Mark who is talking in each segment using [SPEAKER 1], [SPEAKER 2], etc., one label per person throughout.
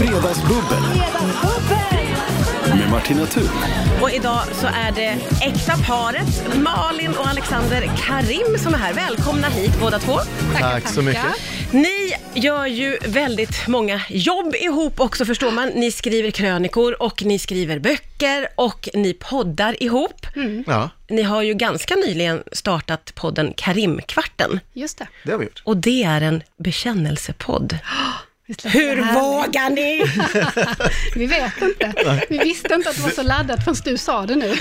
[SPEAKER 1] Fredagsbubbel med Martina Thun.
[SPEAKER 2] Och idag så är det äkta paret Malin och Alexander Karim som är här. Välkomna hit båda två.
[SPEAKER 3] Tack så mycket.
[SPEAKER 2] Ni gör ju väldigt många jobb ihop också förstår man. Ni skriver krönikor och ni skriver böcker och ni poddar ihop.
[SPEAKER 3] Ja,
[SPEAKER 2] Ni har ju ganska nyligen startat podden Karimkvarten
[SPEAKER 4] Just det.
[SPEAKER 3] det har vi gjort.
[SPEAKER 2] och det är en bekännelsepodd.
[SPEAKER 4] Visst lät
[SPEAKER 2] Hur
[SPEAKER 4] det här?
[SPEAKER 2] vågar ni?
[SPEAKER 4] Vi vet inte. Vi visste inte att det var så laddat förrän du sa det nu.
[SPEAKER 3] Det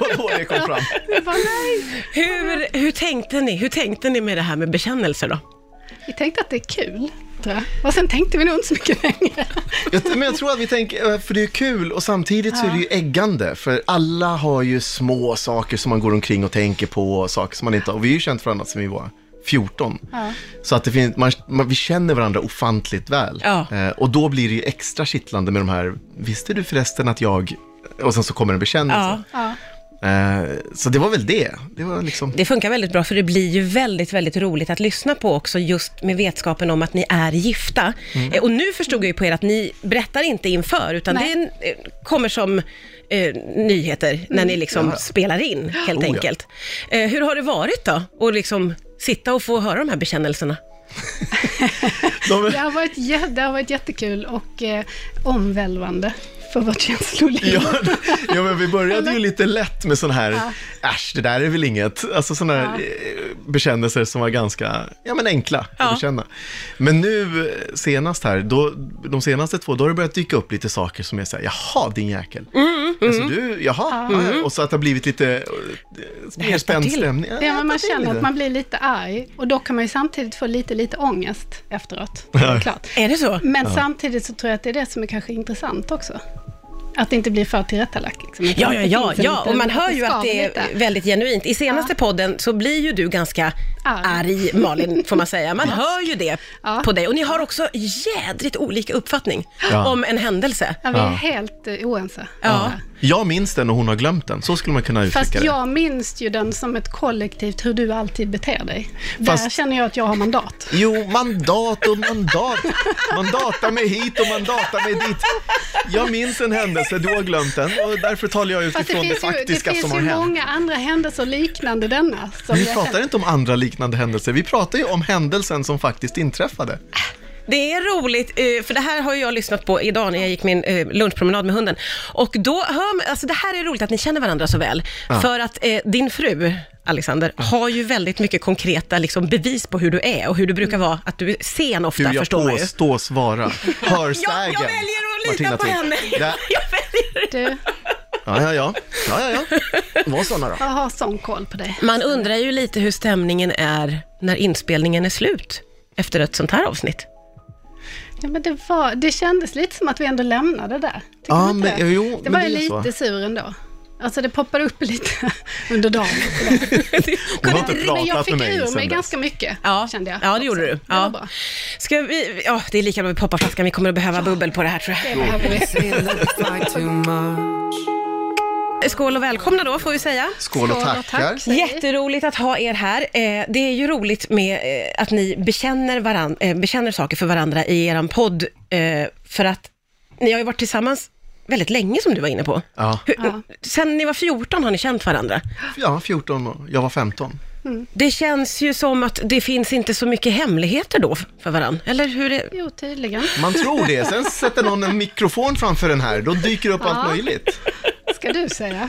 [SPEAKER 3] var då det kom fram.
[SPEAKER 4] Vi bara, nej.
[SPEAKER 2] Hur, hur tänkte ni? Hur tänkte ni med det här med bekännelser då?
[SPEAKER 4] Vi tänkte att det är kul, tror jag. Och sen tänkte vi nog inte så mycket längre.
[SPEAKER 3] Jag, men jag tror att vi tänker, eh, för det är kul och samtidigt så är det ju äggande. För alla har ju små saker som man går omkring och tänker på och saker som man inte har. Och vi har ju känt varandra sedan vi var 14. Så att det finns, man, man, vi känner varandra ofantligt väl.
[SPEAKER 2] Ja.
[SPEAKER 3] Eh, och då blir det ju extra kittlande med de här, visste du förresten att jag, och sen så kommer en bekännelse.
[SPEAKER 4] Ja.
[SPEAKER 3] Eh, så det var väl det. Det var liksom...
[SPEAKER 2] Det funkar väldigt bra för det blir ju väldigt, väldigt roligt att lyssna på också just med vetskapen om att ni är gifta. Eh, Och nu förstod jag ju på er att ni berättar inte inför utan
[SPEAKER 4] Nej.
[SPEAKER 2] det är en, eh, kommer som eh, nyheter när ni liksom spelar in helt
[SPEAKER 3] Mm. Oh, ja.
[SPEAKER 2] enkelt. Eh, hur har det varit då? Och liksom sitta och få höra de här bekännelserna?
[SPEAKER 3] De,
[SPEAKER 4] Det har varit, jä- det har varit jättekul och eh, omvälvande för vårt känsloliv.
[SPEAKER 3] Ja, ja, men vi började ju lite lätt med sån här, äsch, det där är väl inget. Alltså såna här eh, bekännelser som var ganska, ja men enkla
[SPEAKER 2] Ja.
[SPEAKER 3] att bekänna. Men nu eh, senast här, då, de senaste två, då har det börjat dyka upp lite saker som är så här, jaha din jäkel.
[SPEAKER 4] Mm,
[SPEAKER 3] alltså du, jaha, ja, ja. och så att det har blivit lite eh, mer spänd
[SPEAKER 2] till.
[SPEAKER 3] stämning.
[SPEAKER 4] Ja, men man
[SPEAKER 3] hettar till
[SPEAKER 4] känner
[SPEAKER 3] lite.
[SPEAKER 4] att man blir lite arg och då kan man ju samtidigt få lite, lite ångest efteråt. Det är klart.
[SPEAKER 2] Är det så?
[SPEAKER 4] Men samtidigt så tror jag att det är det som är kanske intressant också. Att det inte blir för tillrättalagt. Liksom.
[SPEAKER 2] Ja, ja,
[SPEAKER 4] Att
[SPEAKER 2] ja,
[SPEAKER 4] det finns en
[SPEAKER 2] ja.
[SPEAKER 4] liten-
[SPEAKER 2] och man hör ju att
[SPEAKER 4] skaver
[SPEAKER 2] det
[SPEAKER 4] lite.
[SPEAKER 2] är väldigt genuint. I senaste podden så blir ju du ganska arg,
[SPEAKER 4] Arg.
[SPEAKER 2] Malin, får man säga. Man hör ju det
[SPEAKER 4] Ja.
[SPEAKER 2] på dig. Och ni har också jädrigt olika uppfattning
[SPEAKER 3] Ja.
[SPEAKER 2] om en händelse.
[SPEAKER 4] Ja, vi är
[SPEAKER 3] Ja.
[SPEAKER 4] helt eh, oense.
[SPEAKER 2] Ja.
[SPEAKER 3] Jag minns den och hon har glömt den, så skulle man kunna uttrycka
[SPEAKER 4] Fast
[SPEAKER 3] det.
[SPEAKER 4] jag minns ju den som ett kollektivt, hur du alltid beter dig. Där
[SPEAKER 3] Fast-
[SPEAKER 4] känner jag att jag har mandat.
[SPEAKER 3] Jo, mandat och mandat. Man datar mig hit och man datar mig dit. Jag minns en händelse, du har glömt den och därför talar jag
[SPEAKER 4] Fast det
[SPEAKER 3] utifrån det,
[SPEAKER 4] finns ju, det
[SPEAKER 3] faktiska
[SPEAKER 4] finns
[SPEAKER 3] som har
[SPEAKER 4] ju
[SPEAKER 3] hänt.
[SPEAKER 4] många andra händelser liknande denna. Som
[SPEAKER 3] Vi
[SPEAKER 4] jag
[SPEAKER 3] pratar
[SPEAKER 4] känner-
[SPEAKER 3] inte om andra liknande händelser, vi pratar ju om händelsen som faktiskt inträffade.
[SPEAKER 2] Det är roligt, eh, för det här har ju jag lyssnat på idag när jag gick min eh, lunchpromenad med hunden. Och då hör man, alltså det här är roligt att ni känner varandra så väl. För att eh, din fru, Alexander, har ju väldigt mycket konkreta liksom, bevis på hur du är och hur du brukar
[SPEAKER 4] Mm.
[SPEAKER 2] vara, att du är sen ofta,
[SPEAKER 3] Du, jag
[SPEAKER 2] förstår man ju.
[SPEAKER 3] påstås vara
[SPEAKER 2] Jag,
[SPEAKER 3] hörsägen.
[SPEAKER 2] jag väljer att lita
[SPEAKER 3] Martina
[SPEAKER 2] på
[SPEAKER 3] Thun.
[SPEAKER 2] henne.
[SPEAKER 3] Ja,
[SPEAKER 2] Jag väljer.
[SPEAKER 4] Du,
[SPEAKER 3] ja, ja. ja, ja, ja. Var sådana då.
[SPEAKER 4] jag har sån koll på dig.
[SPEAKER 2] Man undrar ju lite hur stämningen är när inspelningen är slut efter ett sånt här avsnitt.
[SPEAKER 4] Ja, men det, var, det kändes lite som att vi ändå lämnade där. Tycker
[SPEAKER 3] Ja,
[SPEAKER 4] du inte
[SPEAKER 3] men-
[SPEAKER 4] det?
[SPEAKER 3] jo,
[SPEAKER 4] det
[SPEAKER 3] men
[SPEAKER 4] var
[SPEAKER 3] det
[SPEAKER 4] ju
[SPEAKER 3] är så.
[SPEAKER 4] lite sur ändå. Alltså det poppar upp lite under dagen.
[SPEAKER 3] Hon har
[SPEAKER 4] Men-
[SPEAKER 3] inte
[SPEAKER 4] men jag
[SPEAKER 3] pratat
[SPEAKER 4] fick
[SPEAKER 3] med mig
[SPEAKER 4] ur mig
[SPEAKER 3] sen dess.
[SPEAKER 4] ganska mycket,
[SPEAKER 2] Ja,
[SPEAKER 4] kände jag.
[SPEAKER 2] ja det gjorde
[SPEAKER 4] också.
[SPEAKER 2] du.
[SPEAKER 4] Det var
[SPEAKER 2] Ja.
[SPEAKER 4] bra.
[SPEAKER 2] Ska vi, ja, det är lika bra med popparflaskan, vi kommer att behöva bubbel på det här tror
[SPEAKER 4] Det behöver vi.
[SPEAKER 5] It looks like too much.
[SPEAKER 2] jag. Eh, Skål och välkomna då får vi säga.
[SPEAKER 3] Skål och
[SPEAKER 4] Skål och
[SPEAKER 3] tackar.
[SPEAKER 4] tack. Säg.
[SPEAKER 2] Jätteroligt att ha er här. Eh, det är ju roligt med eh, att ni bekänner, varan, eh, bekänner saker för varandra i er podd, eh, för att ni har ju varit tillsammans väldigt länge som du var inne på.
[SPEAKER 3] Ja.
[SPEAKER 2] Hur,
[SPEAKER 4] Ja.
[SPEAKER 2] Sen ni var 14 har ni känt varandra.
[SPEAKER 3] ja, 14 och jag var 15.
[SPEAKER 2] Det känns ju som att det finns inte så mycket hemligheter då för varann. Eller hur är
[SPEAKER 4] Jo, tydligen.
[SPEAKER 3] Man tror det, sen sätter någon en mikrofon framför den här, då dyker upp allt
[SPEAKER 4] Ja.
[SPEAKER 3] möjligt.
[SPEAKER 4] Ska du säga.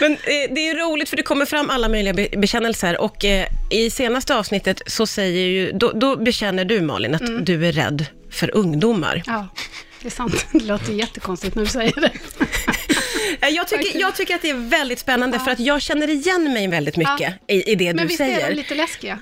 [SPEAKER 2] Men eh, det är roligt för det kommer fram alla möjliga be- bekännelser och eh, i senaste avsnittet så säger ju, då, då bekänner du Malin att du är rädd för ungdomar.
[SPEAKER 4] Ja, det är sant. Det låter jättekonstigt när du säger det.
[SPEAKER 2] Eh, Jag tycker,
[SPEAKER 4] Verkligen.
[SPEAKER 2] jag tycker att det är väldigt spännande för att jag känner igen mig väldigt mycket i, i det
[SPEAKER 4] Men
[SPEAKER 2] du
[SPEAKER 4] visst
[SPEAKER 2] säger.
[SPEAKER 4] är de lite läskiga?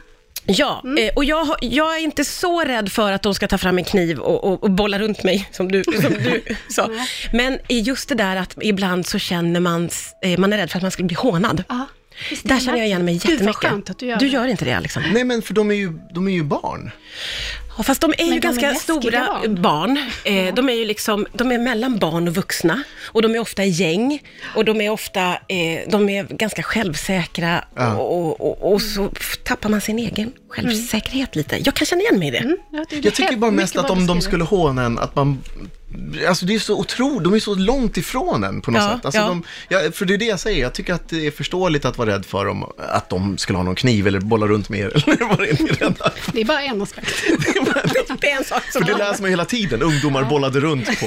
[SPEAKER 2] Ja,
[SPEAKER 4] Mm.
[SPEAKER 2] eh, och jag, har- jag är inte så rädd för att de ska ta fram en kniv och, och, och bolla runt mig, som du, som du sa. Men i just det där att ibland så känner man, s- eh, man är rädd för att man skulle bli hånad.
[SPEAKER 4] Ja. visst är
[SPEAKER 2] Där
[SPEAKER 4] de
[SPEAKER 2] känner jag
[SPEAKER 4] läskiga.
[SPEAKER 2] igen mig
[SPEAKER 4] Gud, vad
[SPEAKER 2] jättemycket.
[SPEAKER 4] skönt att du gör
[SPEAKER 2] du
[SPEAKER 4] det.
[SPEAKER 2] gör inte det, Alexander.
[SPEAKER 3] Nej men för de är ju, de är ju barn.
[SPEAKER 2] Ja, fast de är
[SPEAKER 4] Men
[SPEAKER 2] ju
[SPEAKER 4] de är
[SPEAKER 2] ganska
[SPEAKER 4] läskiga
[SPEAKER 2] stora barn.
[SPEAKER 4] barn.
[SPEAKER 2] Eh, De är ju liksom, de är mellan barn och vuxna och de är ofta i gäng och de är ofta, eh, de är ganska självsäkra och, och, och så f- tappar man sin
[SPEAKER 4] Mm.
[SPEAKER 2] egen självsäkerhet lite. Jag kan känna igen mig i det.
[SPEAKER 4] Ja, det är
[SPEAKER 3] Jag tycker
[SPEAKER 4] helt
[SPEAKER 3] bara mest
[SPEAKER 4] mycket
[SPEAKER 3] att
[SPEAKER 4] vad du
[SPEAKER 3] om de
[SPEAKER 4] skriver.
[SPEAKER 3] skulle håna en, att man... Alltså det är så otroligt, de är så långt ifrån en på något
[SPEAKER 2] Ja,
[SPEAKER 3] sätt. Alltså
[SPEAKER 2] ja.
[SPEAKER 3] de, ja, för det är det jag säger, jag tycker att det är förståeligt att vara rädd för dem, att de skulle ha någon kniv eller bolla runt med er eller vad det är ni är rädda för.
[SPEAKER 4] Det är bara en aspekt.
[SPEAKER 2] Det är en sak som
[SPEAKER 3] För det läser man ju hela tiden, ungdomar bollade runt på,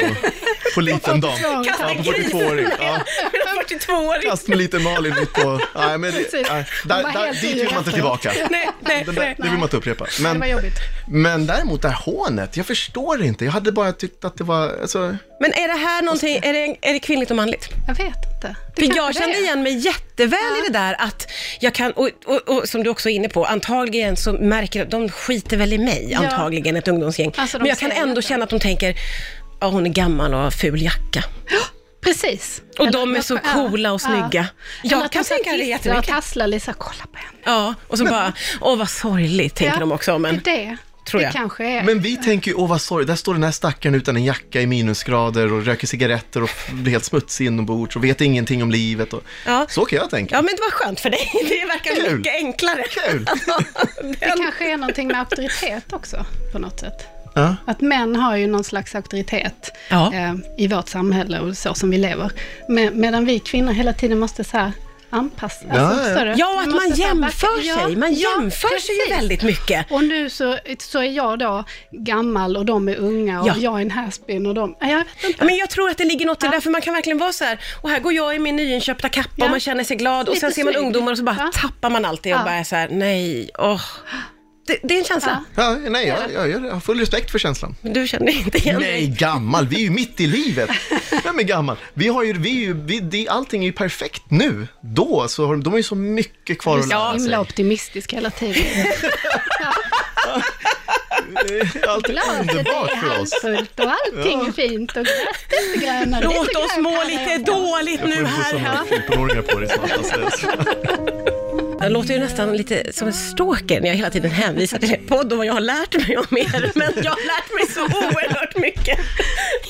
[SPEAKER 3] på liten dam.
[SPEAKER 2] Kasta
[SPEAKER 3] Ja,
[SPEAKER 2] en
[SPEAKER 3] på
[SPEAKER 2] kniv.
[SPEAKER 3] 42-åring. Ja.
[SPEAKER 2] Medan 42-åring.
[SPEAKER 3] Kast med liten Malin mitt på... Nej, men det,
[SPEAKER 4] Precis.
[SPEAKER 3] nej, där,
[SPEAKER 4] Hon var
[SPEAKER 3] där,
[SPEAKER 4] helt
[SPEAKER 3] dit vill man inte
[SPEAKER 4] ur.
[SPEAKER 3] tillbaka.
[SPEAKER 2] Nej, nej,
[SPEAKER 3] Det, där,
[SPEAKER 2] nej.
[SPEAKER 3] det vill man inte upprepa.
[SPEAKER 4] Det
[SPEAKER 3] Men,
[SPEAKER 4] var jobbigt.
[SPEAKER 3] men däremot det här hånet, jag förstår inte. Jag hade bara tyckt att det var... Alltså,
[SPEAKER 2] Men är det här någonting, är det, är det kvinnligt och manligt?
[SPEAKER 4] Jag vet inte. Det
[SPEAKER 2] För
[SPEAKER 4] kanske
[SPEAKER 2] jag
[SPEAKER 4] det
[SPEAKER 2] kände
[SPEAKER 4] är.
[SPEAKER 2] igen mig jätteväl i det där att jag kan, och, och, och som du också är inne på, antagligen så märker de, de skiter väl i mig, antagligen ett ungdomsgäng.
[SPEAKER 4] Alltså, de
[SPEAKER 2] Men jag kan
[SPEAKER 4] säger
[SPEAKER 2] ändå
[SPEAKER 4] inte.
[SPEAKER 2] känna att de tänker, ja hon är gammal och har ful jacka.
[SPEAKER 4] Precis.
[SPEAKER 2] Och
[SPEAKER 4] Eller
[SPEAKER 2] de
[SPEAKER 4] att
[SPEAKER 2] är
[SPEAKER 4] jag-
[SPEAKER 2] så
[SPEAKER 4] ja,
[SPEAKER 2] coola och
[SPEAKER 4] ja.
[SPEAKER 2] snygga.
[SPEAKER 4] Eller
[SPEAKER 2] Jag
[SPEAKER 4] att
[SPEAKER 2] kan
[SPEAKER 4] de så här
[SPEAKER 2] tänka det
[SPEAKER 4] klistrar
[SPEAKER 2] jättemycket.
[SPEAKER 4] och tasslar lite så här, kolla på henne.
[SPEAKER 2] Ja, och så bara, åh vad sorgligt, tänker
[SPEAKER 4] Ja,
[SPEAKER 2] de också om en.
[SPEAKER 4] Det, är det.
[SPEAKER 2] Tror jag.
[SPEAKER 4] det kanske är.
[SPEAKER 3] Men vi tänker ju, åh vad sorry, där står den här stackaren utan en jacka i minusgrader och röker cigaretter och blir helt smutsig inombords och vet ingenting om livet. Och...
[SPEAKER 2] Ja.
[SPEAKER 3] Så kan jag tänka.
[SPEAKER 2] Ja, men det var skönt för dig. Det verkar
[SPEAKER 3] Kul.
[SPEAKER 2] mycket enklare.
[SPEAKER 3] Kul.
[SPEAKER 4] det kanske är någonting med auktoritet också, på något sätt.
[SPEAKER 3] Ja.
[SPEAKER 4] Att män har ju någon slags auktoritet
[SPEAKER 2] Ja.
[SPEAKER 4] eh, i vårt samhälle och så som vi lever. Med, medan vi kvinnor hela tiden måste så här anpassa
[SPEAKER 3] Ja, ja.
[SPEAKER 4] alltså, förstår du?
[SPEAKER 2] Ja,
[SPEAKER 4] Vi
[SPEAKER 2] att
[SPEAKER 4] måste
[SPEAKER 2] man
[SPEAKER 4] så här
[SPEAKER 2] jämför
[SPEAKER 4] backa. Ja,
[SPEAKER 2] sig. Man
[SPEAKER 4] ja,
[SPEAKER 2] jämför sig ju
[SPEAKER 4] precis.
[SPEAKER 2] väldigt mycket.
[SPEAKER 4] Och nu så, så är jag då gammal och de är unga och
[SPEAKER 2] Ja.
[SPEAKER 4] jag är en haspin och de... Nej, Jag vet inte.
[SPEAKER 2] Ja, men jag tror att det ligger något i det där, för man kan verkligen vara så här, och här går jag i min nyinköpta kappa
[SPEAKER 4] Ja.
[SPEAKER 2] och man känner sig glad och
[SPEAKER 4] Lite
[SPEAKER 2] sen ser man
[SPEAKER 4] snygg.
[SPEAKER 2] ungdomar och så bara
[SPEAKER 4] Ja.
[SPEAKER 2] tappar man allt det och
[SPEAKER 4] Ja.
[SPEAKER 2] bara är så här, nej, åh. Det, det är en känsla.
[SPEAKER 3] Ja, nej, jag, jag, jag har full respekt för känslan.
[SPEAKER 2] Men du känner inte igen
[SPEAKER 3] Nej,
[SPEAKER 2] dig.
[SPEAKER 3] gammal, vi är ju mitt i livet. Vem är gammal? Vi har ju, vi är ju, vi, det, allting är ju perfekt nu. Då, så har de, de har ju så mycket kvar
[SPEAKER 4] Du är
[SPEAKER 3] att
[SPEAKER 4] så
[SPEAKER 3] lära
[SPEAKER 4] himla
[SPEAKER 3] sig.
[SPEAKER 4] optimistisk hela tiden.
[SPEAKER 3] Allt är underbart för oss.
[SPEAKER 4] Fullt och allting är fint och gräset är grönare. Det är så
[SPEAKER 2] Låt oss
[SPEAKER 4] grönt
[SPEAKER 2] må
[SPEAKER 4] här
[SPEAKER 2] lite
[SPEAKER 4] uppe.
[SPEAKER 2] dåligt nu här. här.
[SPEAKER 3] 14-åringar på dig snart. Alltså.
[SPEAKER 2] Jag låter ju nästan lite som en stalker när jag hela tiden hänvisar till er podd och vad jag har lärt mig om er. Men jag har lärt mig så oerhört mycket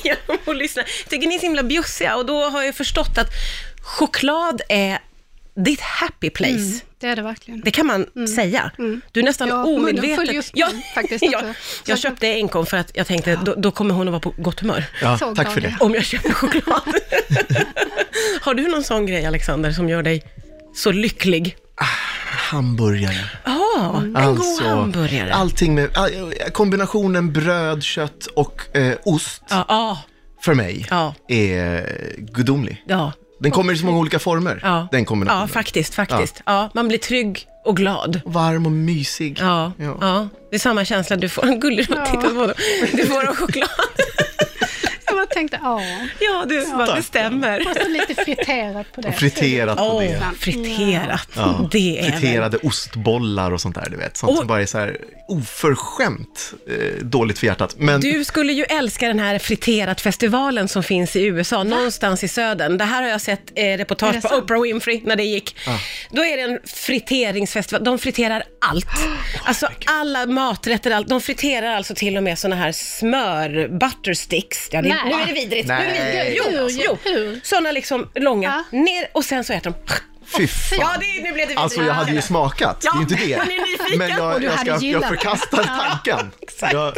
[SPEAKER 2] genom att lyssna. Jag tycker ni är så himla bjussiga och då har jag förstått att choklad är ditt happy place.
[SPEAKER 4] Det är det verkligen.
[SPEAKER 2] Det kan man säga. Du är nästan
[SPEAKER 4] Ja, munnen
[SPEAKER 2] omedveten.
[SPEAKER 4] full just nu,
[SPEAKER 2] ja,
[SPEAKER 4] faktiskt
[SPEAKER 2] ja,
[SPEAKER 4] också.
[SPEAKER 2] jag köpte enkom för att jag tänkte då, då kommer hon att vara på gott humör.
[SPEAKER 3] Ja,
[SPEAKER 4] Såg
[SPEAKER 3] tack för
[SPEAKER 4] dagen.
[SPEAKER 3] det.
[SPEAKER 2] Om jag köper choklad. Har du någon sån grej Alexander som gör dig så lycklig?
[SPEAKER 3] Hamburgare. Alltså,
[SPEAKER 2] Ja, en god hamburgare.
[SPEAKER 3] Allting med, all- kombinationen bröd, kött och eh, ost
[SPEAKER 2] Ja, ja,
[SPEAKER 3] för mig
[SPEAKER 2] Ja.
[SPEAKER 3] är gudomlig.
[SPEAKER 2] ja,
[SPEAKER 3] Den kommer i så många olika former,
[SPEAKER 2] ja.
[SPEAKER 3] den kombinationen.
[SPEAKER 2] Ja, faktiskt, faktiskt. Ja. man blir trygg och glad.
[SPEAKER 3] Varm och mysig.
[SPEAKER 2] Ja, ja.
[SPEAKER 3] Ja.
[SPEAKER 2] det är samma känsla du får. Gullig ja.
[SPEAKER 4] Ja.
[SPEAKER 2] titta på honom. Du får av choklad.
[SPEAKER 4] Jag bara tänkte, ja.
[SPEAKER 2] Ja, du, det stämmer.
[SPEAKER 4] Och så lite friterat på det.
[SPEAKER 3] Och friterat på
[SPEAKER 2] Åh,
[SPEAKER 3] det.
[SPEAKER 2] friterat.
[SPEAKER 3] Ja,
[SPEAKER 2] Det är väl
[SPEAKER 3] friterade ostbollar och sånt där, du vet. Sånt
[SPEAKER 2] Och-
[SPEAKER 3] som bara är så här oförskämt eh, dåligt för hjärtat. Men
[SPEAKER 2] Du skulle ju älska den här friterat-festivalen som finns i USA, någonstans i södern. Det här har jag sett eh,
[SPEAKER 4] Är
[SPEAKER 2] reportage
[SPEAKER 4] det
[SPEAKER 2] på
[SPEAKER 4] sant?
[SPEAKER 2] Oprah Winfrey när det gick. Då är det en friteringsfestival, de friterar allt. Alltså alla maträtter, allt. de friterar alltså till och med såna här smör, butter sticks. Ja, det,
[SPEAKER 4] Nej.
[SPEAKER 2] nu är det vidrigt. Nu är det
[SPEAKER 3] Nej.
[SPEAKER 2] vidrigt. Jo,
[SPEAKER 4] Hur,
[SPEAKER 2] jo.
[SPEAKER 4] hur?
[SPEAKER 2] Såna liksom långa, ner och sen så äter de.
[SPEAKER 3] fy fan.
[SPEAKER 2] Ja, det, nu blev det vidrigt.
[SPEAKER 3] Alltså jag hade ju smakat, det är ju inte
[SPEAKER 2] Ja,
[SPEAKER 3] det.
[SPEAKER 2] man är nyfiken.
[SPEAKER 3] Men jag,
[SPEAKER 4] Och du
[SPEAKER 3] jag,
[SPEAKER 4] hade
[SPEAKER 3] ska, jag
[SPEAKER 4] gillat det.
[SPEAKER 3] förkastar tanken. Jag,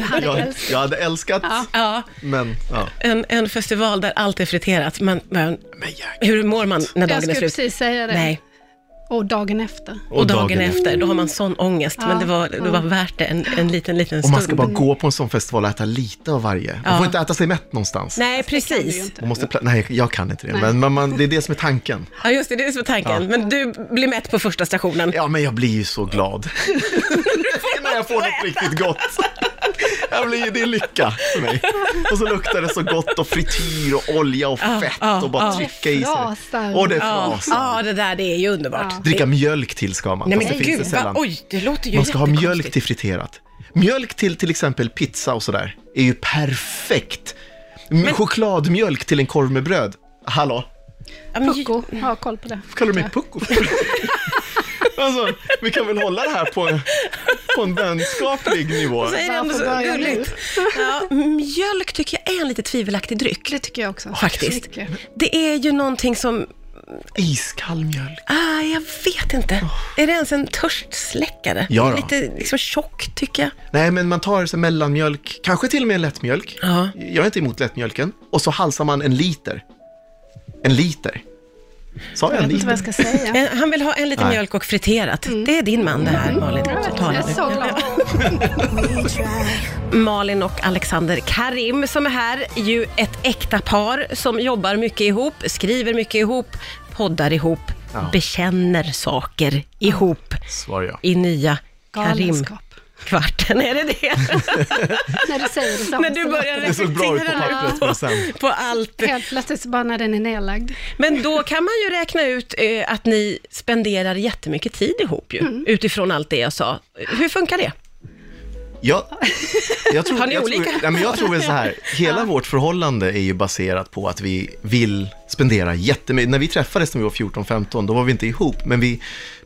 [SPEAKER 4] hade
[SPEAKER 3] jag,
[SPEAKER 4] älskat.
[SPEAKER 3] jag hade älskat,
[SPEAKER 2] Ja,
[SPEAKER 3] men ja.
[SPEAKER 2] en, en festival där allt är friterat. Man, man, hur mår man när
[SPEAKER 4] Jag
[SPEAKER 2] dagen är
[SPEAKER 4] skulle
[SPEAKER 2] slut?
[SPEAKER 4] precis säga det.
[SPEAKER 2] Nej.
[SPEAKER 4] Och dagen efter.
[SPEAKER 2] Och, dagen, efter, då har man sån ångest. Men
[SPEAKER 4] Ja.
[SPEAKER 2] det var, det var värt det en, en liten, liten
[SPEAKER 3] Och
[SPEAKER 2] stund.
[SPEAKER 3] man ska bara gå på en sån festival och äta lite av varje. Man får inte äta sig mätt någonstans.
[SPEAKER 2] Nej,
[SPEAKER 4] Det kan du ju
[SPEAKER 2] precis.
[SPEAKER 4] inte.
[SPEAKER 3] Man måste pla- Nej, jag kan inte det, men man, man, det är det som är tanken.
[SPEAKER 2] Ja, just det, det är som är tanken. Men du blir mätt på första stationen.
[SPEAKER 3] Ja, men jag blir ju så glad. När jag får något riktigt gott. Jag blir, det är lycka för mig. Och så luktar det så gott och frityr och olja och
[SPEAKER 2] ja,
[SPEAKER 3] fett och bara
[SPEAKER 2] ja.
[SPEAKER 3] trycka i sig.
[SPEAKER 4] Frasar.
[SPEAKER 3] Och det
[SPEAKER 2] Ja,
[SPEAKER 3] frasar.
[SPEAKER 2] ja, det där det är ju underbart.
[SPEAKER 4] Ja.
[SPEAKER 3] Dricka mjölk till ska man,
[SPEAKER 2] Nej
[SPEAKER 3] fast
[SPEAKER 2] men
[SPEAKER 3] det finns
[SPEAKER 2] gud,
[SPEAKER 3] det
[SPEAKER 2] vad,
[SPEAKER 3] sällan.
[SPEAKER 2] oj, det låter ju
[SPEAKER 3] Man ska ha mjölk
[SPEAKER 2] jättekonstigt.
[SPEAKER 3] till friterat. Mjölk till till exempel pizza och sådär är ju perfekt. M- Chokladmjölk till en korv med bröd. Hallå,
[SPEAKER 2] Ja, men, ju-
[SPEAKER 4] Pucko, ha koll på det.
[SPEAKER 3] kallar du mig pucko? Alltså, vi kan väl hålla det här på en, på en vänskaplig nivå.
[SPEAKER 2] Säger det ändå
[SPEAKER 4] Varför
[SPEAKER 2] så
[SPEAKER 4] börjar
[SPEAKER 2] gulligt. Ja, mjölk tycker jag är en lite tvivelaktig dryck.
[SPEAKER 4] Det tycker jag också.
[SPEAKER 2] Faktiskt.
[SPEAKER 4] Mycket.
[SPEAKER 2] Det är ju någonting som,
[SPEAKER 3] Iskall mjölk.
[SPEAKER 2] ah, jag vet inte. Är det ens en törstsläckare?
[SPEAKER 3] Oh. Ja då.
[SPEAKER 2] Lite liksom tjock tycker jag.
[SPEAKER 3] Nej, men man tar så här mellanmjölk, kanske till och med en lättmjölk.
[SPEAKER 2] Ja.
[SPEAKER 3] Jag är inte emot lättmjölken. Och så halsar man en liter. En liter. Sa jag
[SPEAKER 4] Jag
[SPEAKER 3] en
[SPEAKER 4] vet inte vad
[SPEAKER 3] liter?
[SPEAKER 4] jag ska säga.
[SPEAKER 2] Eh, Han vill ha en liten mjölk och friterat.
[SPEAKER 3] Mm.
[SPEAKER 2] Det är din man det här, Malin. som
[SPEAKER 4] Jag
[SPEAKER 2] talar
[SPEAKER 4] är
[SPEAKER 2] nu.
[SPEAKER 4] så glad.
[SPEAKER 2] Malin och Alexander Karim som är här, ju ett äkta par som jobbar mycket ihop, skriver mycket ihop, poddar ihop,
[SPEAKER 3] Ja.
[SPEAKER 2] bekänner saker ihop
[SPEAKER 3] Svarar jag.
[SPEAKER 2] i nya
[SPEAKER 4] Galenskap.
[SPEAKER 2] Karim-kvarten. Är det det?
[SPEAKER 4] När du säger det så-
[SPEAKER 2] När du börjar
[SPEAKER 3] Det såg bra ut på
[SPEAKER 2] reflektera
[SPEAKER 3] pappret, men sen...
[SPEAKER 2] på allt.
[SPEAKER 4] Helt plötsligt så bara när den är nedlagd.
[SPEAKER 2] Men då kan man ju räkna ut eh, att ni spenderar jättemycket tid ihop ju, utifrån allt det jag sa. Hur funkar det?
[SPEAKER 3] Jag, jag tror,
[SPEAKER 2] Har ni
[SPEAKER 3] jag
[SPEAKER 2] olika?
[SPEAKER 3] Tror, nej, men jag tror väl så här, hela vårt förhållande är ju baserat på att vi vill spendera jättemycket. När vi träffades när vi var 14-15, då var vi inte ihop, men vi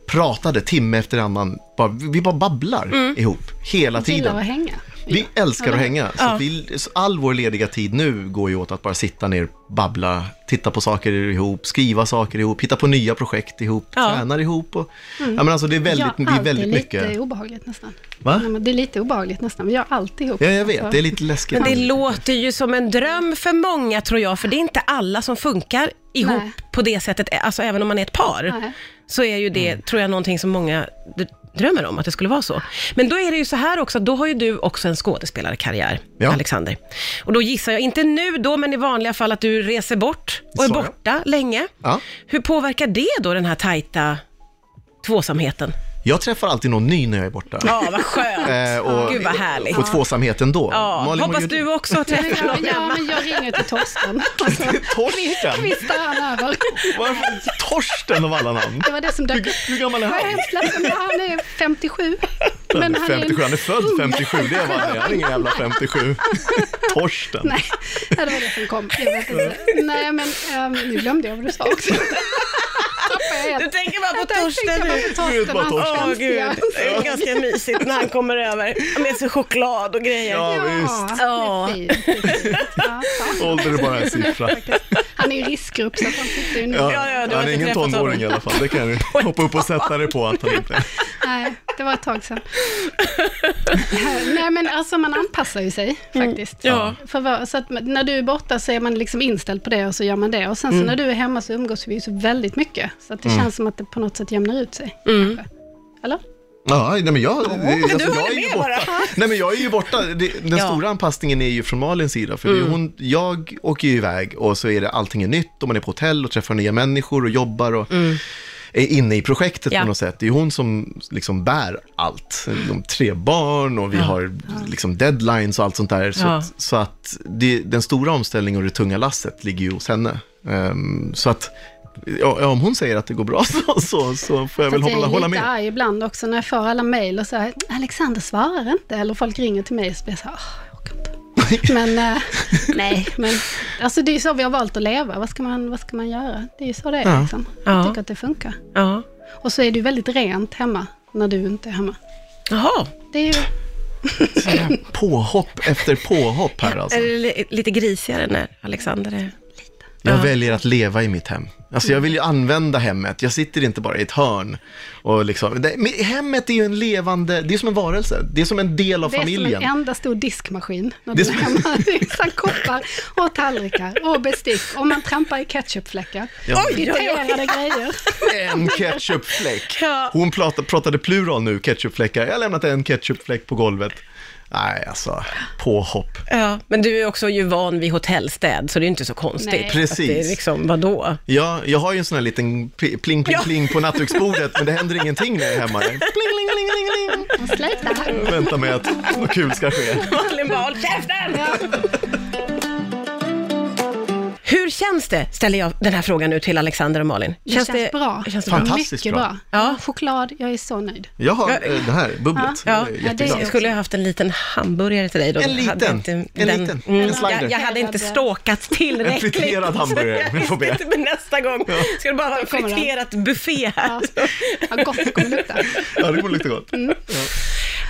[SPEAKER 3] pratade timme efter annan. Bara, vi bara babblar
[SPEAKER 2] Mm.
[SPEAKER 3] ihop, hela
[SPEAKER 4] Gillar att
[SPEAKER 3] tiden.
[SPEAKER 4] hänga.
[SPEAKER 3] Vi älskar att hänga. Så
[SPEAKER 2] Ja.
[SPEAKER 3] vi, så all vår lediga tid nu går ju åt att bara sitta ner, babbla, titta på saker ihop, skriva saker ihop, hitta på nya projekt ihop,
[SPEAKER 2] Ja. Mm.
[SPEAKER 3] tränar ihop. Och, ja, men alltså det är väldigt, vi är
[SPEAKER 4] allt
[SPEAKER 3] väldigt
[SPEAKER 4] Det
[SPEAKER 3] mycket.
[SPEAKER 4] är obehagligt nästan.
[SPEAKER 3] Va?
[SPEAKER 4] Nej, men det är lite obehagligt nästan. Vi gör allt ihop.
[SPEAKER 3] Ja, jag vet,
[SPEAKER 4] Alltså,
[SPEAKER 3] det är lite läskigt.
[SPEAKER 2] Men det låter ju som en dröm för många tror jag, för det är inte alla som funkar ihop
[SPEAKER 4] Nej.
[SPEAKER 2] på det sättet, alltså även om man är ett par.
[SPEAKER 4] Nej.
[SPEAKER 2] Så är ju
[SPEAKER 3] Mm.
[SPEAKER 2] det, tror jag, någonting som många d- drömmer om, att det skulle vara så. Men då är det ju så här också, då har ju du också en skådespelarkarriär,
[SPEAKER 3] Ja.
[SPEAKER 2] Alexander. Och då gissar jag, inte nu då, men i vanliga fall att du reser bort och är
[SPEAKER 3] Så, ja.
[SPEAKER 2] borta länge.
[SPEAKER 3] Ja.
[SPEAKER 2] Hur påverkar det då den här tajta tvåsamheten?
[SPEAKER 3] Jag träffar alltid någon ny när jag är borta.
[SPEAKER 2] Ja, vad skönt!
[SPEAKER 3] Eh, och,
[SPEAKER 2] Gud vad härligt.
[SPEAKER 3] och tvåsamheten då.
[SPEAKER 2] Ja,
[SPEAKER 3] Malin, vad
[SPEAKER 2] hoppas
[SPEAKER 3] gör
[SPEAKER 2] du också träffar
[SPEAKER 4] Ja,
[SPEAKER 2] någon
[SPEAKER 4] ja,
[SPEAKER 2] hemma.
[SPEAKER 4] men jag ringer till Torsten. Och så
[SPEAKER 3] Torsten!
[SPEAKER 4] vistar han över.
[SPEAKER 3] Varför Torsten av alla namn?
[SPEAKER 4] Det var det som dök upp.
[SPEAKER 3] Hur gammal är
[SPEAKER 4] Jag är
[SPEAKER 3] han?
[SPEAKER 4] hemskt ledsen, men han är 57. Men han är,
[SPEAKER 3] 57, han är född 57, det är vad han är. Han är ingen jävla 57. Torsten.
[SPEAKER 4] Nej, det var det som kom. Jag vet inte. Nej, men ehm, nu glömde jag vad du sa också. Tappade jag helt.
[SPEAKER 2] Du tänker bara på
[SPEAKER 4] Jag tänkte
[SPEAKER 2] Torsten nu.
[SPEAKER 3] Nu
[SPEAKER 4] bara på
[SPEAKER 3] är det bara
[SPEAKER 4] Torsten,
[SPEAKER 3] Torsten.
[SPEAKER 4] hans
[SPEAKER 2] Åh gud,
[SPEAKER 4] konstiga-
[SPEAKER 2] det är ganska mysigt när han kommer över med sin choklad och grejer.
[SPEAKER 3] Ja, visst.
[SPEAKER 4] Ja,
[SPEAKER 2] Ja.
[SPEAKER 4] det är fint, det är fint. Ja, fan.
[SPEAKER 3] Ålder är bara en siffra.
[SPEAKER 4] Han är i riskgrupp så att han sitter ju nu.
[SPEAKER 3] Ja,
[SPEAKER 2] ja, du har
[SPEAKER 3] han är
[SPEAKER 2] inte
[SPEAKER 3] ingen
[SPEAKER 2] träffat
[SPEAKER 3] tonåring
[SPEAKER 2] honom.
[SPEAKER 3] i alla fall, det kan vi hoppa upp och sätta det på att han inte är.
[SPEAKER 4] Nej, det var ett tag sedan. Nej, men alltså man anpassar ju sig faktiskt.
[SPEAKER 2] Mm. Ja.
[SPEAKER 4] För vad, så att när du är borta så är man liksom inställd på det och så gör man det. Och sen så
[SPEAKER 2] Mm.
[SPEAKER 4] när du är hemma så umgås vi ju så väldigt mycket. Så att det känns som att det på något sätt jämnar ut sig.
[SPEAKER 2] Mm.
[SPEAKER 4] kanske. Eller?
[SPEAKER 3] Ja, nej, men jag, det, alltså,
[SPEAKER 2] håller
[SPEAKER 3] jag är ju
[SPEAKER 2] med
[SPEAKER 3] borta.
[SPEAKER 2] bara.
[SPEAKER 3] Nej, men jag är ju borta. Det, den
[SPEAKER 2] Ja. Mm.
[SPEAKER 3] stora anpassningen är ju från Malins sida, för det är hon, jag åker ju iväg och så är det allting är nytt och man är på hotell och träffar nya människor och jobbar och är inne i projektet
[SPEAKER 2] Mm. Ja.
[SPEAKER 3] på något sätt. Det är hon som liksom bär allt. De tre barn och vi har liksom deadlines och allt sånt där. Så,
[SPEAKER 2] Ja.
[SPEAKER 3] att, så att det, den stora omställningen och det tunga lasset ligger ju hos henne. Ehm, så att Ja, om hon säger att det går bra så, så, så får jag väl
[SPEAKER 4] Fast
[SPEAKER 3] hålla,
[SPEAKER 4] jag är
[SPEAKER 3] hålla
[SPEAKER 4] lite
[SPEAKER 3] med.
[SPEAKER 4] arg ibland också när jag får alla mejl och så här, Alexander svarar inte, eller folk ringer till mig och så blir jag så här, "Åh, jag orkar inte. Men, eh, nej, men alltså det är ju så vi har valt att leva. Vad ska man, vad ska man göra? Det är ju så det är
[SPEAKER 3] Ja.
[SPEAKER 4] liksom. Jag
[SPEAKER 2] Ja.
[SPEAKER 4] tycker att det funkar.
[SPEAKER 2] Ja.
[SPEAKER 4] Och så är det ju väldigt rent hemma, när du inte är hemma.
[SPEAKER 2] Jaha,
[SPEAKER 4] Det är ju,
[SPEAKER 3] Påhopp efter påhopp här alltså.
[SPEAKER 2] är det li- lite grisigare när Alexander är...
[SPEAKER 3] Jag väljer att leva i mitt hem. Alltså jag vill ju använda hemmet, jag sitter inte bara i ett hörn. Och liksom, det, men hemmet är ju en levande, det är som en varelse, det är som en del av
[SPEAKER 4] det är som en
[SPEAKER 3] familjen.
[SPEAKER 4] enda stor diskmaskin när
[SPEAKER 3] Det
[SPEAKER 4] du
[SPEAKER 3] är
[SPEAKER 4] är
[SPEAKER 3] som-
[SPEAKER 4] hemma. Det är så här koppar och tallrikar och bestick och man trampar i ketchupfläckar.
[SPEAKER 3] Ja.
[SPEAKER 2] Oj, oj, oj.
[SPEAKER 4] Irriterade grejer.
[SPEAKER 3] En ketchupfläck.
[SPEAKER 2] Ja.
[SPEAKER 3] Hon pratade, pratade plural nu, ketchupfläckar. Jag har lämnat en ketchupfläck på golvet. Nej, alltså, påhopp.
[SPEAKER 2] Ja, men du är också ju van vid hotellstäd, så det är inte så konstigt.
[SPEAKER 4] Nej.
[SPEAKER 2] Att det är
[SPEAKER 3] Precis.
[SPEAKER 2] liksom, vadå?
[SPEAKER 3] Ja, jag har ju en sån här liten p- pling, pling,
[SPEAKER 2] Ja.
[SPEAKER 3] pling på nattduksbordet, men det händer ingenting när jag är hemma. Pling, pling, pling, pling, pling.
[SPEAKER 4] Och sluta.
[SPEAKER 3] Vänta med att något kul ska ske.
[SPEAKER 2] Malin bara, håll käften! Hur känns det, ställer jag den här frågan nu till Alexander och Malin.
[SPEAKER 4] Det känns, bra.
[SPEAKER 2] Känns det bra?
[SPEAKER 3] Fantastiskt
[SPEAKER 4] Mycket
[SPEAKER 3] bra.
[SPEAKER 4] bra. Mm,
[SPEAKER 2] Ja.
[SPEAKER 4] Choklad, jag är så nöjd.
[SPEAKER 3] Jag har eh, det här bubblet.
[SPEAKER 2] Ja,
[SPEAKER 3] Jag är
[SPEAKER 4] ja, det är
[SPEAKER 3] jätteglad.
[SPEAKER 2] Jag skulle ha haft en liten hamburgare till dig då.
[SPEAKER 3] En
[SPEAKER 2] Jag hade
[SPEAKER 3] liten.
[SPEAKER 2] inte Mm.
[SPEAKER 3] En liten. En slider.
[SPEAKER 2] jag, jag hade inte ståkat
[SPEAKER 3] En
[SPEAKER 2] tillräckligt.
[SPEAKER 3] friterad hamburgare, vi får be.
[SPEAKER 2] Jag visste inte, Men nästa gång ska det bara vara en
[SPEAKER 4] Kommer den.
[SPEAKER 2] friterat buffé här.
[SPEAKER 4] Ja. Vad gott det kommer lukta.
[SPEAKER 3] Ja, det kommer lukta gott.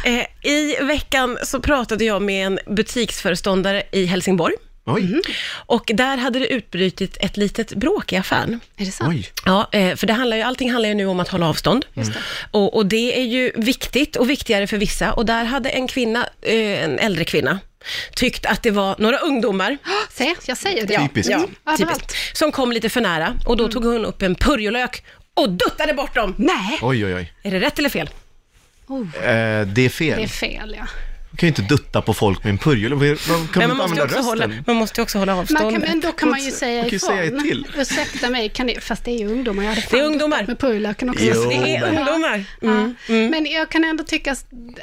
[SPEAKER 2] Eh, I veckan så pratade jag med en butiksföreståndare i Helsingborg.
[SPEAKER 3] Oj,
[SPEAKER 2] Och där hade det utbrutit ett litet bråk i affären.
[SPEAKER 4] Är det sant?
[SPEAKER 3] oj.
[SPEAKER 2] Ja, eh, för det handlar ju, allting handlar ju nu om att hålla avstånd. Mm. Och, och det är ju viktigt och viktigare för vissa. Och där hade en kvinna, eh, en äldre kvinna, tyckt att det var några ungdomar
[SPEAKER 4] Se, jag säger det.
[SPEAKER 3] Typiskt.
[SPEAKER 2] Ja,
[SPEAKER 4] Överallt.
[SPEAKER 2] typiskt. Som kom lite för nära och då tog hon upp en purjolök och duttade bort dem.
[SPEAKER 4] Nej, Oh,
[SPEAKER 3] Oj, oj, oj.
[SPEAKER 2] Är det rätt eller fel?
[SPEAKER 3] Eh, det är fel.
[SPEAKER 4] det är fel ja.
[SPEAKER 3] Du kan ju inte dutta på folk med en purjolök. Vad- vad- Kan
[SPEAKER 2] Nej,
[SPEAKER 3] du
[SPEAKER 2] man,
[SPEAKER 3] inte
[SPEAKER 2] måste
[SPEAKER 3] använda
[SPEAKER 2] också
[SPEAKER 3] rösten?
[SPEAKER 2] hålla, man måste också hålla
[SPEAKER 4] Man
[SPEAKER 2] avstånd.
[SPEAKER 4] kan, men då kan man ju säga
[SPEAKER 3] man kan ju
[SPEAKER 4] ifrån.
[SPEAKER 3] säga till.
[SPEAKER 4] Ursäkta mig, kan ni, fast det är ju ungdomar. Jag hade fan
[SPEAKER 2] Det är ungdomar.
[SPEAKER 4] med purjolöken också.
[SPEAKER 3] Jo,
[SPEAKER 2] Det är
[SPEAKER 3] men-
[SPEAKER 2] ungdomar. Mm.
[SPEAKER 4] Ja. Men jag kan ändå tycka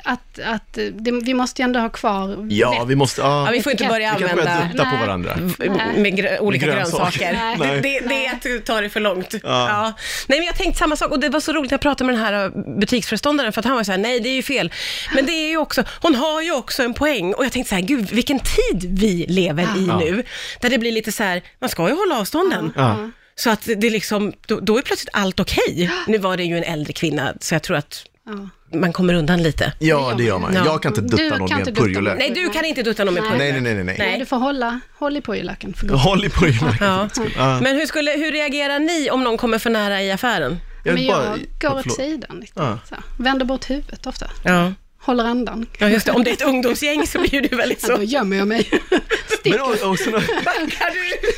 [SPEAKER 4] att, att eh, det, vi måste ju ändå ha kvar
[SPEAKER 3] Ja,
[SPEAKER 4] vett.
[SPEAKER 3] vi måste... Ja,
[SPEAKER 2] Ja, vi får inte börja
[SPEAKER 3] vi kan börja
[SPEAKER 2] använda
[SPEAKER 3] dutta på
[SPEAKER 4] Nej.
[SPEAKER 3] varandra.
[SPEAKER 4] Nej.
[SPEAKER 2] med grö- olika
[SPEAKER 3] Grönsaker.
[SPEAKER 2] grönsaker.
[SPEAKER 3] Nej.
[SPEAKER 2] Det, det, det är att du tar det för långt. Ja. Nej, men jag tänkte samma sak och det var så roligt när jag pratade med den här eh, butiksföreståndaren för att han var så här, nej det är ju fel. Men det är ju också, hon har ju också en poäng och jag tänkte så här, gud vilken tid vi lever i
[SPEAKER 3] Ja.
[SPEAKER 2] nu. Där det blir lite så här, man ska ju hålla avstånden.
[SPEAKER 3] Ja.
[SPEAKER 2] Så att det- det liksom, då, då är plötsligt allt okej. Nu var det ju en äldre kvinna så jag tror att
[SPEAKER 4] Ja.
[SPEAKER 2] man kommer undan lite.
[SPEAKER 3] ja, det gör man.
[SPEAKER 2] Ja.
[SPEAKER 3] Jag kan inte
[SPEAKER 4] Du
[SPEAKER 3] dutta
[SPEAKER 4] kan
[SPEAKER 3] någon med
[SPEAKER 4] inte
[SPEAKER 3] en
[SPEAKER 4] dutta
[SPEAKER 3] purjolök.
[SPEAKER 4] någon.
[SPEAKER 2] Nej, du kan inte dutta någon med
[SPEAKER 4] Nej.
[SPEAKER 2] purjolk.
[SPEAKER 3] Nej, nej, nej, nej, nej.
[SPEAKER 4] Nej, du får hålla, håll i purjolöken för gott.
[SPEAKER 3] Håll i purjolöken.
[SPEAKER 2] Typ. Ja. Men hur, skulle, hur reagerar ni om någon kommer för nära i affären?
[SPEAKER 3] Jag
[SPEAKER 4] Men
[SPEAKER 3] vill bara-
[SPEAKER 4] jag går åt
[SPEAKER 3] förlåt.
[SPEAKER 4] sidan lite.
[SPEAKER 3] Ja.
[SPEAKER 4] Så. Vänder bort huvudet ofta.
[SPEAKER 2] Ja.
[SPEAKER 4] Håller andan.
[SPEAKER 2] Ja, just det. Om det är ett ungdomsgäng så blir det väldigt
[SPEAKER 4] Ja, då
[SPEAKER 2] så.
[SPEAKER 4] gömmer jag mig.
[SPEAKER 3] Men
[SPEAKER 4] Stick.
[SPEAKER 3] o- också när-
[SPEAKER 2] Bankar du?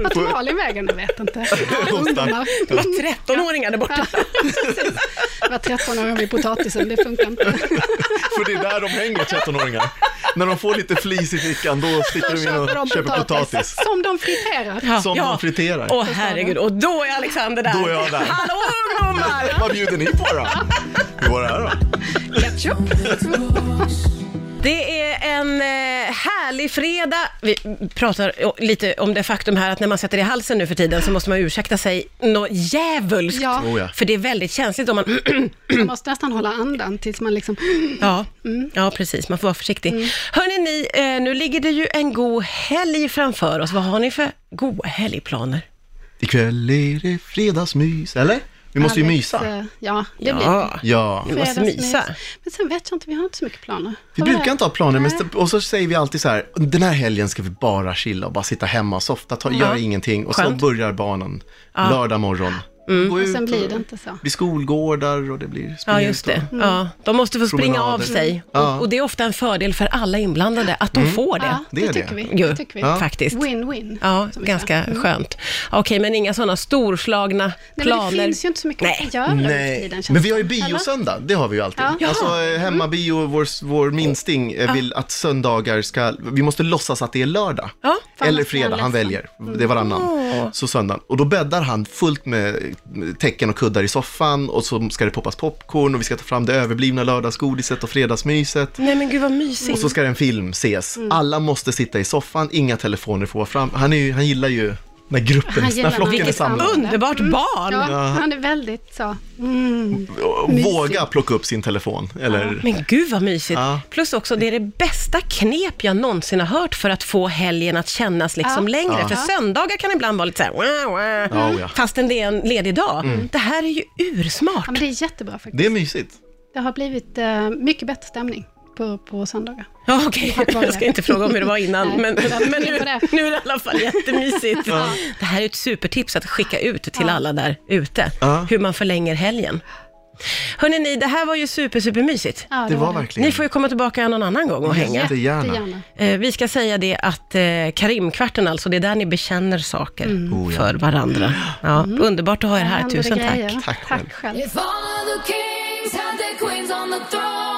[SPEAKER 4] Vart tog Malin vägen? Jag vet inte. Ungdomar.
[SPEAKER 2] Det var 13-åringar där borta.
[SPEAKER 4] Det var 13 år vid potatisen, det funkar inte.
[SPEAKER 3] För det är där de hänger, 13-åringar. När de får lite flis i fickan, då sticker
[SPEAKER 4] Då
[SPEAKER 3] de in och
[SPEAKER 4] köper de
[SPEAKER 3] köper
[SPEAKER 4] potatis,
[SPEAKER 3] potatis.
[SPEAKER 4] som de friterar.
[SPEAKER 2] Ja.
[SPEAKER 3] Som man friterar.
[SPEAKER 2] Åh herregud, och då är Alexander där.
[SPEAKER 3] Då är jag där.
[SPEAKER 2] Hallå ungdomar!
[SPEAKER 3] Vad bjuder ni på då? Hur var det här då?
[SPEAKER 2] Det är en eh, härlig fredag. Vi pratar eh, lite om det faktum här att när man sätter det i halsen nu för tiden så måste man ursäkta sig något djävulskt.
[SPEAKER 4] Ja,
[SPEAKER 3] Oh, ja.
[SPEAKER 2] För det är väldigt känsligt om man
[SPEAKER 4] man måste nästan hålla andan tills man liksom...
[SPEAKER 2] Ja,
[SPEAKER 4] Mm.
[SPEAKER 2] ja precis. Man får vara försiktig. Hörrni, ni, eh, nu ligger det ju en god helg framför oss. Vad har ni för goda helgplaner?
[SPEAKER 3] Ikväll är det fredagsmys, eller? Vi måste ju
[SPEAKER 4] Alex,
[SPEAKER 3] mysa.
[SPEAKER 4] eh, Ja, det blir det.
[SPEAKER 3] Ja.
[SPEAKER 2] vi måste
[SPEAKER 4] Fredagsmys.
[SPEAKER 2] mysa.
[SPEAKER 4] Men sen vet jag inte, vi har inte så mycket planer.
[SPEAKER 3] Vi
[SPEAKER 4] Har
[SPEAKER 3] brukar
[SPEAKER 4] det?
[SPEAKER 3] inte ha planer, men
[SPEAKER 4] Nej.
[SPEAKER 3] st- och så säger vi alltid så här, den här helgen ska vi bara chilla och bara sitta hemma och softa, ta, göra ingenting. Och
[SPEAKER 2] Skönt.
[SPEAKER 3] så börjar barnen lördag morgon. Gå
[SPEAKER 4] Mm. Och
[SPEAKER 3] ut
[SPEAKER 4] sen blir det inte så.
[SPEAKER 3] vid skolgårdar och det blir spring
[SPEAKER 2] Ja,
[SPEAKER 3] ut
[SPEAKER 2] just
[SPEAKER 3] och-
[SPEAKER 2] det.
[SPEAKER 4] Mm.
[SPEAKER 2] Ja, de måste få springa av
[SPEAKER 3] Promenader.
[SPEAKER 2] sig.
[SPEAKER 3] Ja. Mm.
[SPEAKER 2] Och, och det är ofta en fördel för alla inblandade att de får det.
[SPEAKER 4] Ja,
[SPEAKER 3] det
[SPEAKER 4] det,
[SPEAKER 3] är
[SPEAKER 4] tycker
[SPEAKER 3] det.
[SPEAKER 4] vi.
[SPEAKER 2] Jo,
[SPEAKER 4] Det tycker vi.
[SPEAKER 2] faktiskt.
[SPEAKER 4] Win-win.
[SPEAKER 2] Ja,
[SPEAKER 4] som vi
[SPEAKER 2] ganska
[SPEAKER 4] säger.
[SPEAKER 2] skönt. Okej, men inga sådana storslagna
[SPEAKER 4] Nej, men
[SPEAKER 2] planer.
[SPEAKER 4] det finns ju inte så mycket
[SPEAKER 2] Nej.
[SPEAKER 4] att göra nu för
[SPEAKER 3] Nej,
[SPEAKER 4] tiden. känns
[SPEAKER 3] men vi har ju
[SPEAKER 4] det. Eller?
[SPEAKER 3] biosöndag, det har vi ju alltid.
[SPEAKER 4] Ja. Mm.
[SPEAKER 3] Alltså eh, hemmabio, vår, vår minsting eh, vill att söndagar ska, vi måste låtsas att det är lördag.
[SPEAKER 2] Ja.
[SPEAKER 4] Fan,
[SPEAKER 3] Eller
[SPEAKER 4] vad Mm. ska jag
[SPEAKER 3] fredag, han
[SPEAKER 4] läsa?
[SPEAKER 3] väljer. Det är varannan. Så söndagen. Och då bäddar han fullt med med täcken och kuddar i soffan och så ska det poppas popcorn och vi ska ta fram det överblivna lördagsgodiset och fredagsmyset.
[SPEAKER 2] Nej, men gud vad mysigt.
[SPEAKER 3] Och så ska en film ses.
[SPEAKER 4] Mm.
[SPEAKER 3] Alla måste sitta i soffan, inga telefoner får vara fram. Han, är ju, han gillar ju när gruppen,
[SPEAKER 4] Han
[SPEAKER 3] när
[SPEAKER 4] gillar
[SPEAKER 3] flocken
[SPEAKER 4] när-
[SPEAKER 3] är samlad.
[SPEAKER 2] Underbart barn!
[SPEAKER 4] Mm. Ja, han är väldigt så. Mm.
[SPEAKER 3] Och Våga plocka upp sin telefon. Eller,
[SPEAKER 2] Men gud vad mysigt.
[SPEAKER 3] Ja.
[SPEAKER 2] Plus också, det är det bästa knep jag någonsin har hört för att få helgen att kännas liksom
[SPEAKER 4] Ja.
[SPEAKER 2] längre.
[SPEAKER 3] Ja.
[SPEAKER 2] För söndagar kan ibland vara lite så här, wah, wah,
[SPEAKER 3] Ja, oh ja. Mm.
[SPEAKER 2] fastän det är en ledig dag. Det här är ju ursmart.
[SPEAKER 4] Ja, men det är jättebra faktiskt.
[SPEAKER 3] Det är mysigt.
[SPEAKER 4] Det har blivit eh, mycket bättre stämning på, på söndagar.
[SPEAKER 2] Ja, okej.
[SPEAKER 4] Tack vare
[SPEAKER 2] Jag ska
[SPEAKER 4] det.
[SPEAKER 2] inte fråga om hur det var innan,
[SPEAKER 4] Nej,
[SPEAKER 2] men,
[SPEAKER 4] det var
[SPEAKER 2] men
[SPEAKER 4] fel
[SPEAKER 2] nu,
[SPEAKER 4] på det.
[SPEAKER 2] nu är det i alla fall jättemysigt. Det här är ett supertips att skicka ut till alla där ute,
[SPEAKER 3] Ja.
[SPEAKER 2] hur man förlänger helgen. Hörrni, ni, det här var ju super, supermysigt.
[SPEAKER 4] Ja,
[SPEAKER 3] Det var
[SPEAKER 2] Ni
[SPEAKER 3] verkligen.
[SPEAKER 2] får ju komma tillbaka någon annan gång och hänga.
[SPEAKER 3] Jättegärna.
[SPEAKER 4] Jättegärna.
[SPEAKER 2] Eh, vi ska säga det att eh, Karimkvarten alltså, det är där ni bekänner saker
[SPEAKER 3] Oh, ja.
[SPEAKER 2] för varandra. Ja, Underbart att ha er här,
[SPEAKER 4] händer det
[SPEAKER 2] tusen tack.
[SPEAKER 4] grejer.
[SPEAKER 3] Tack själv.
[SPEAKER 4] Tack själv.
[SPEAKER 6] If all of the kings had their queens on the throne.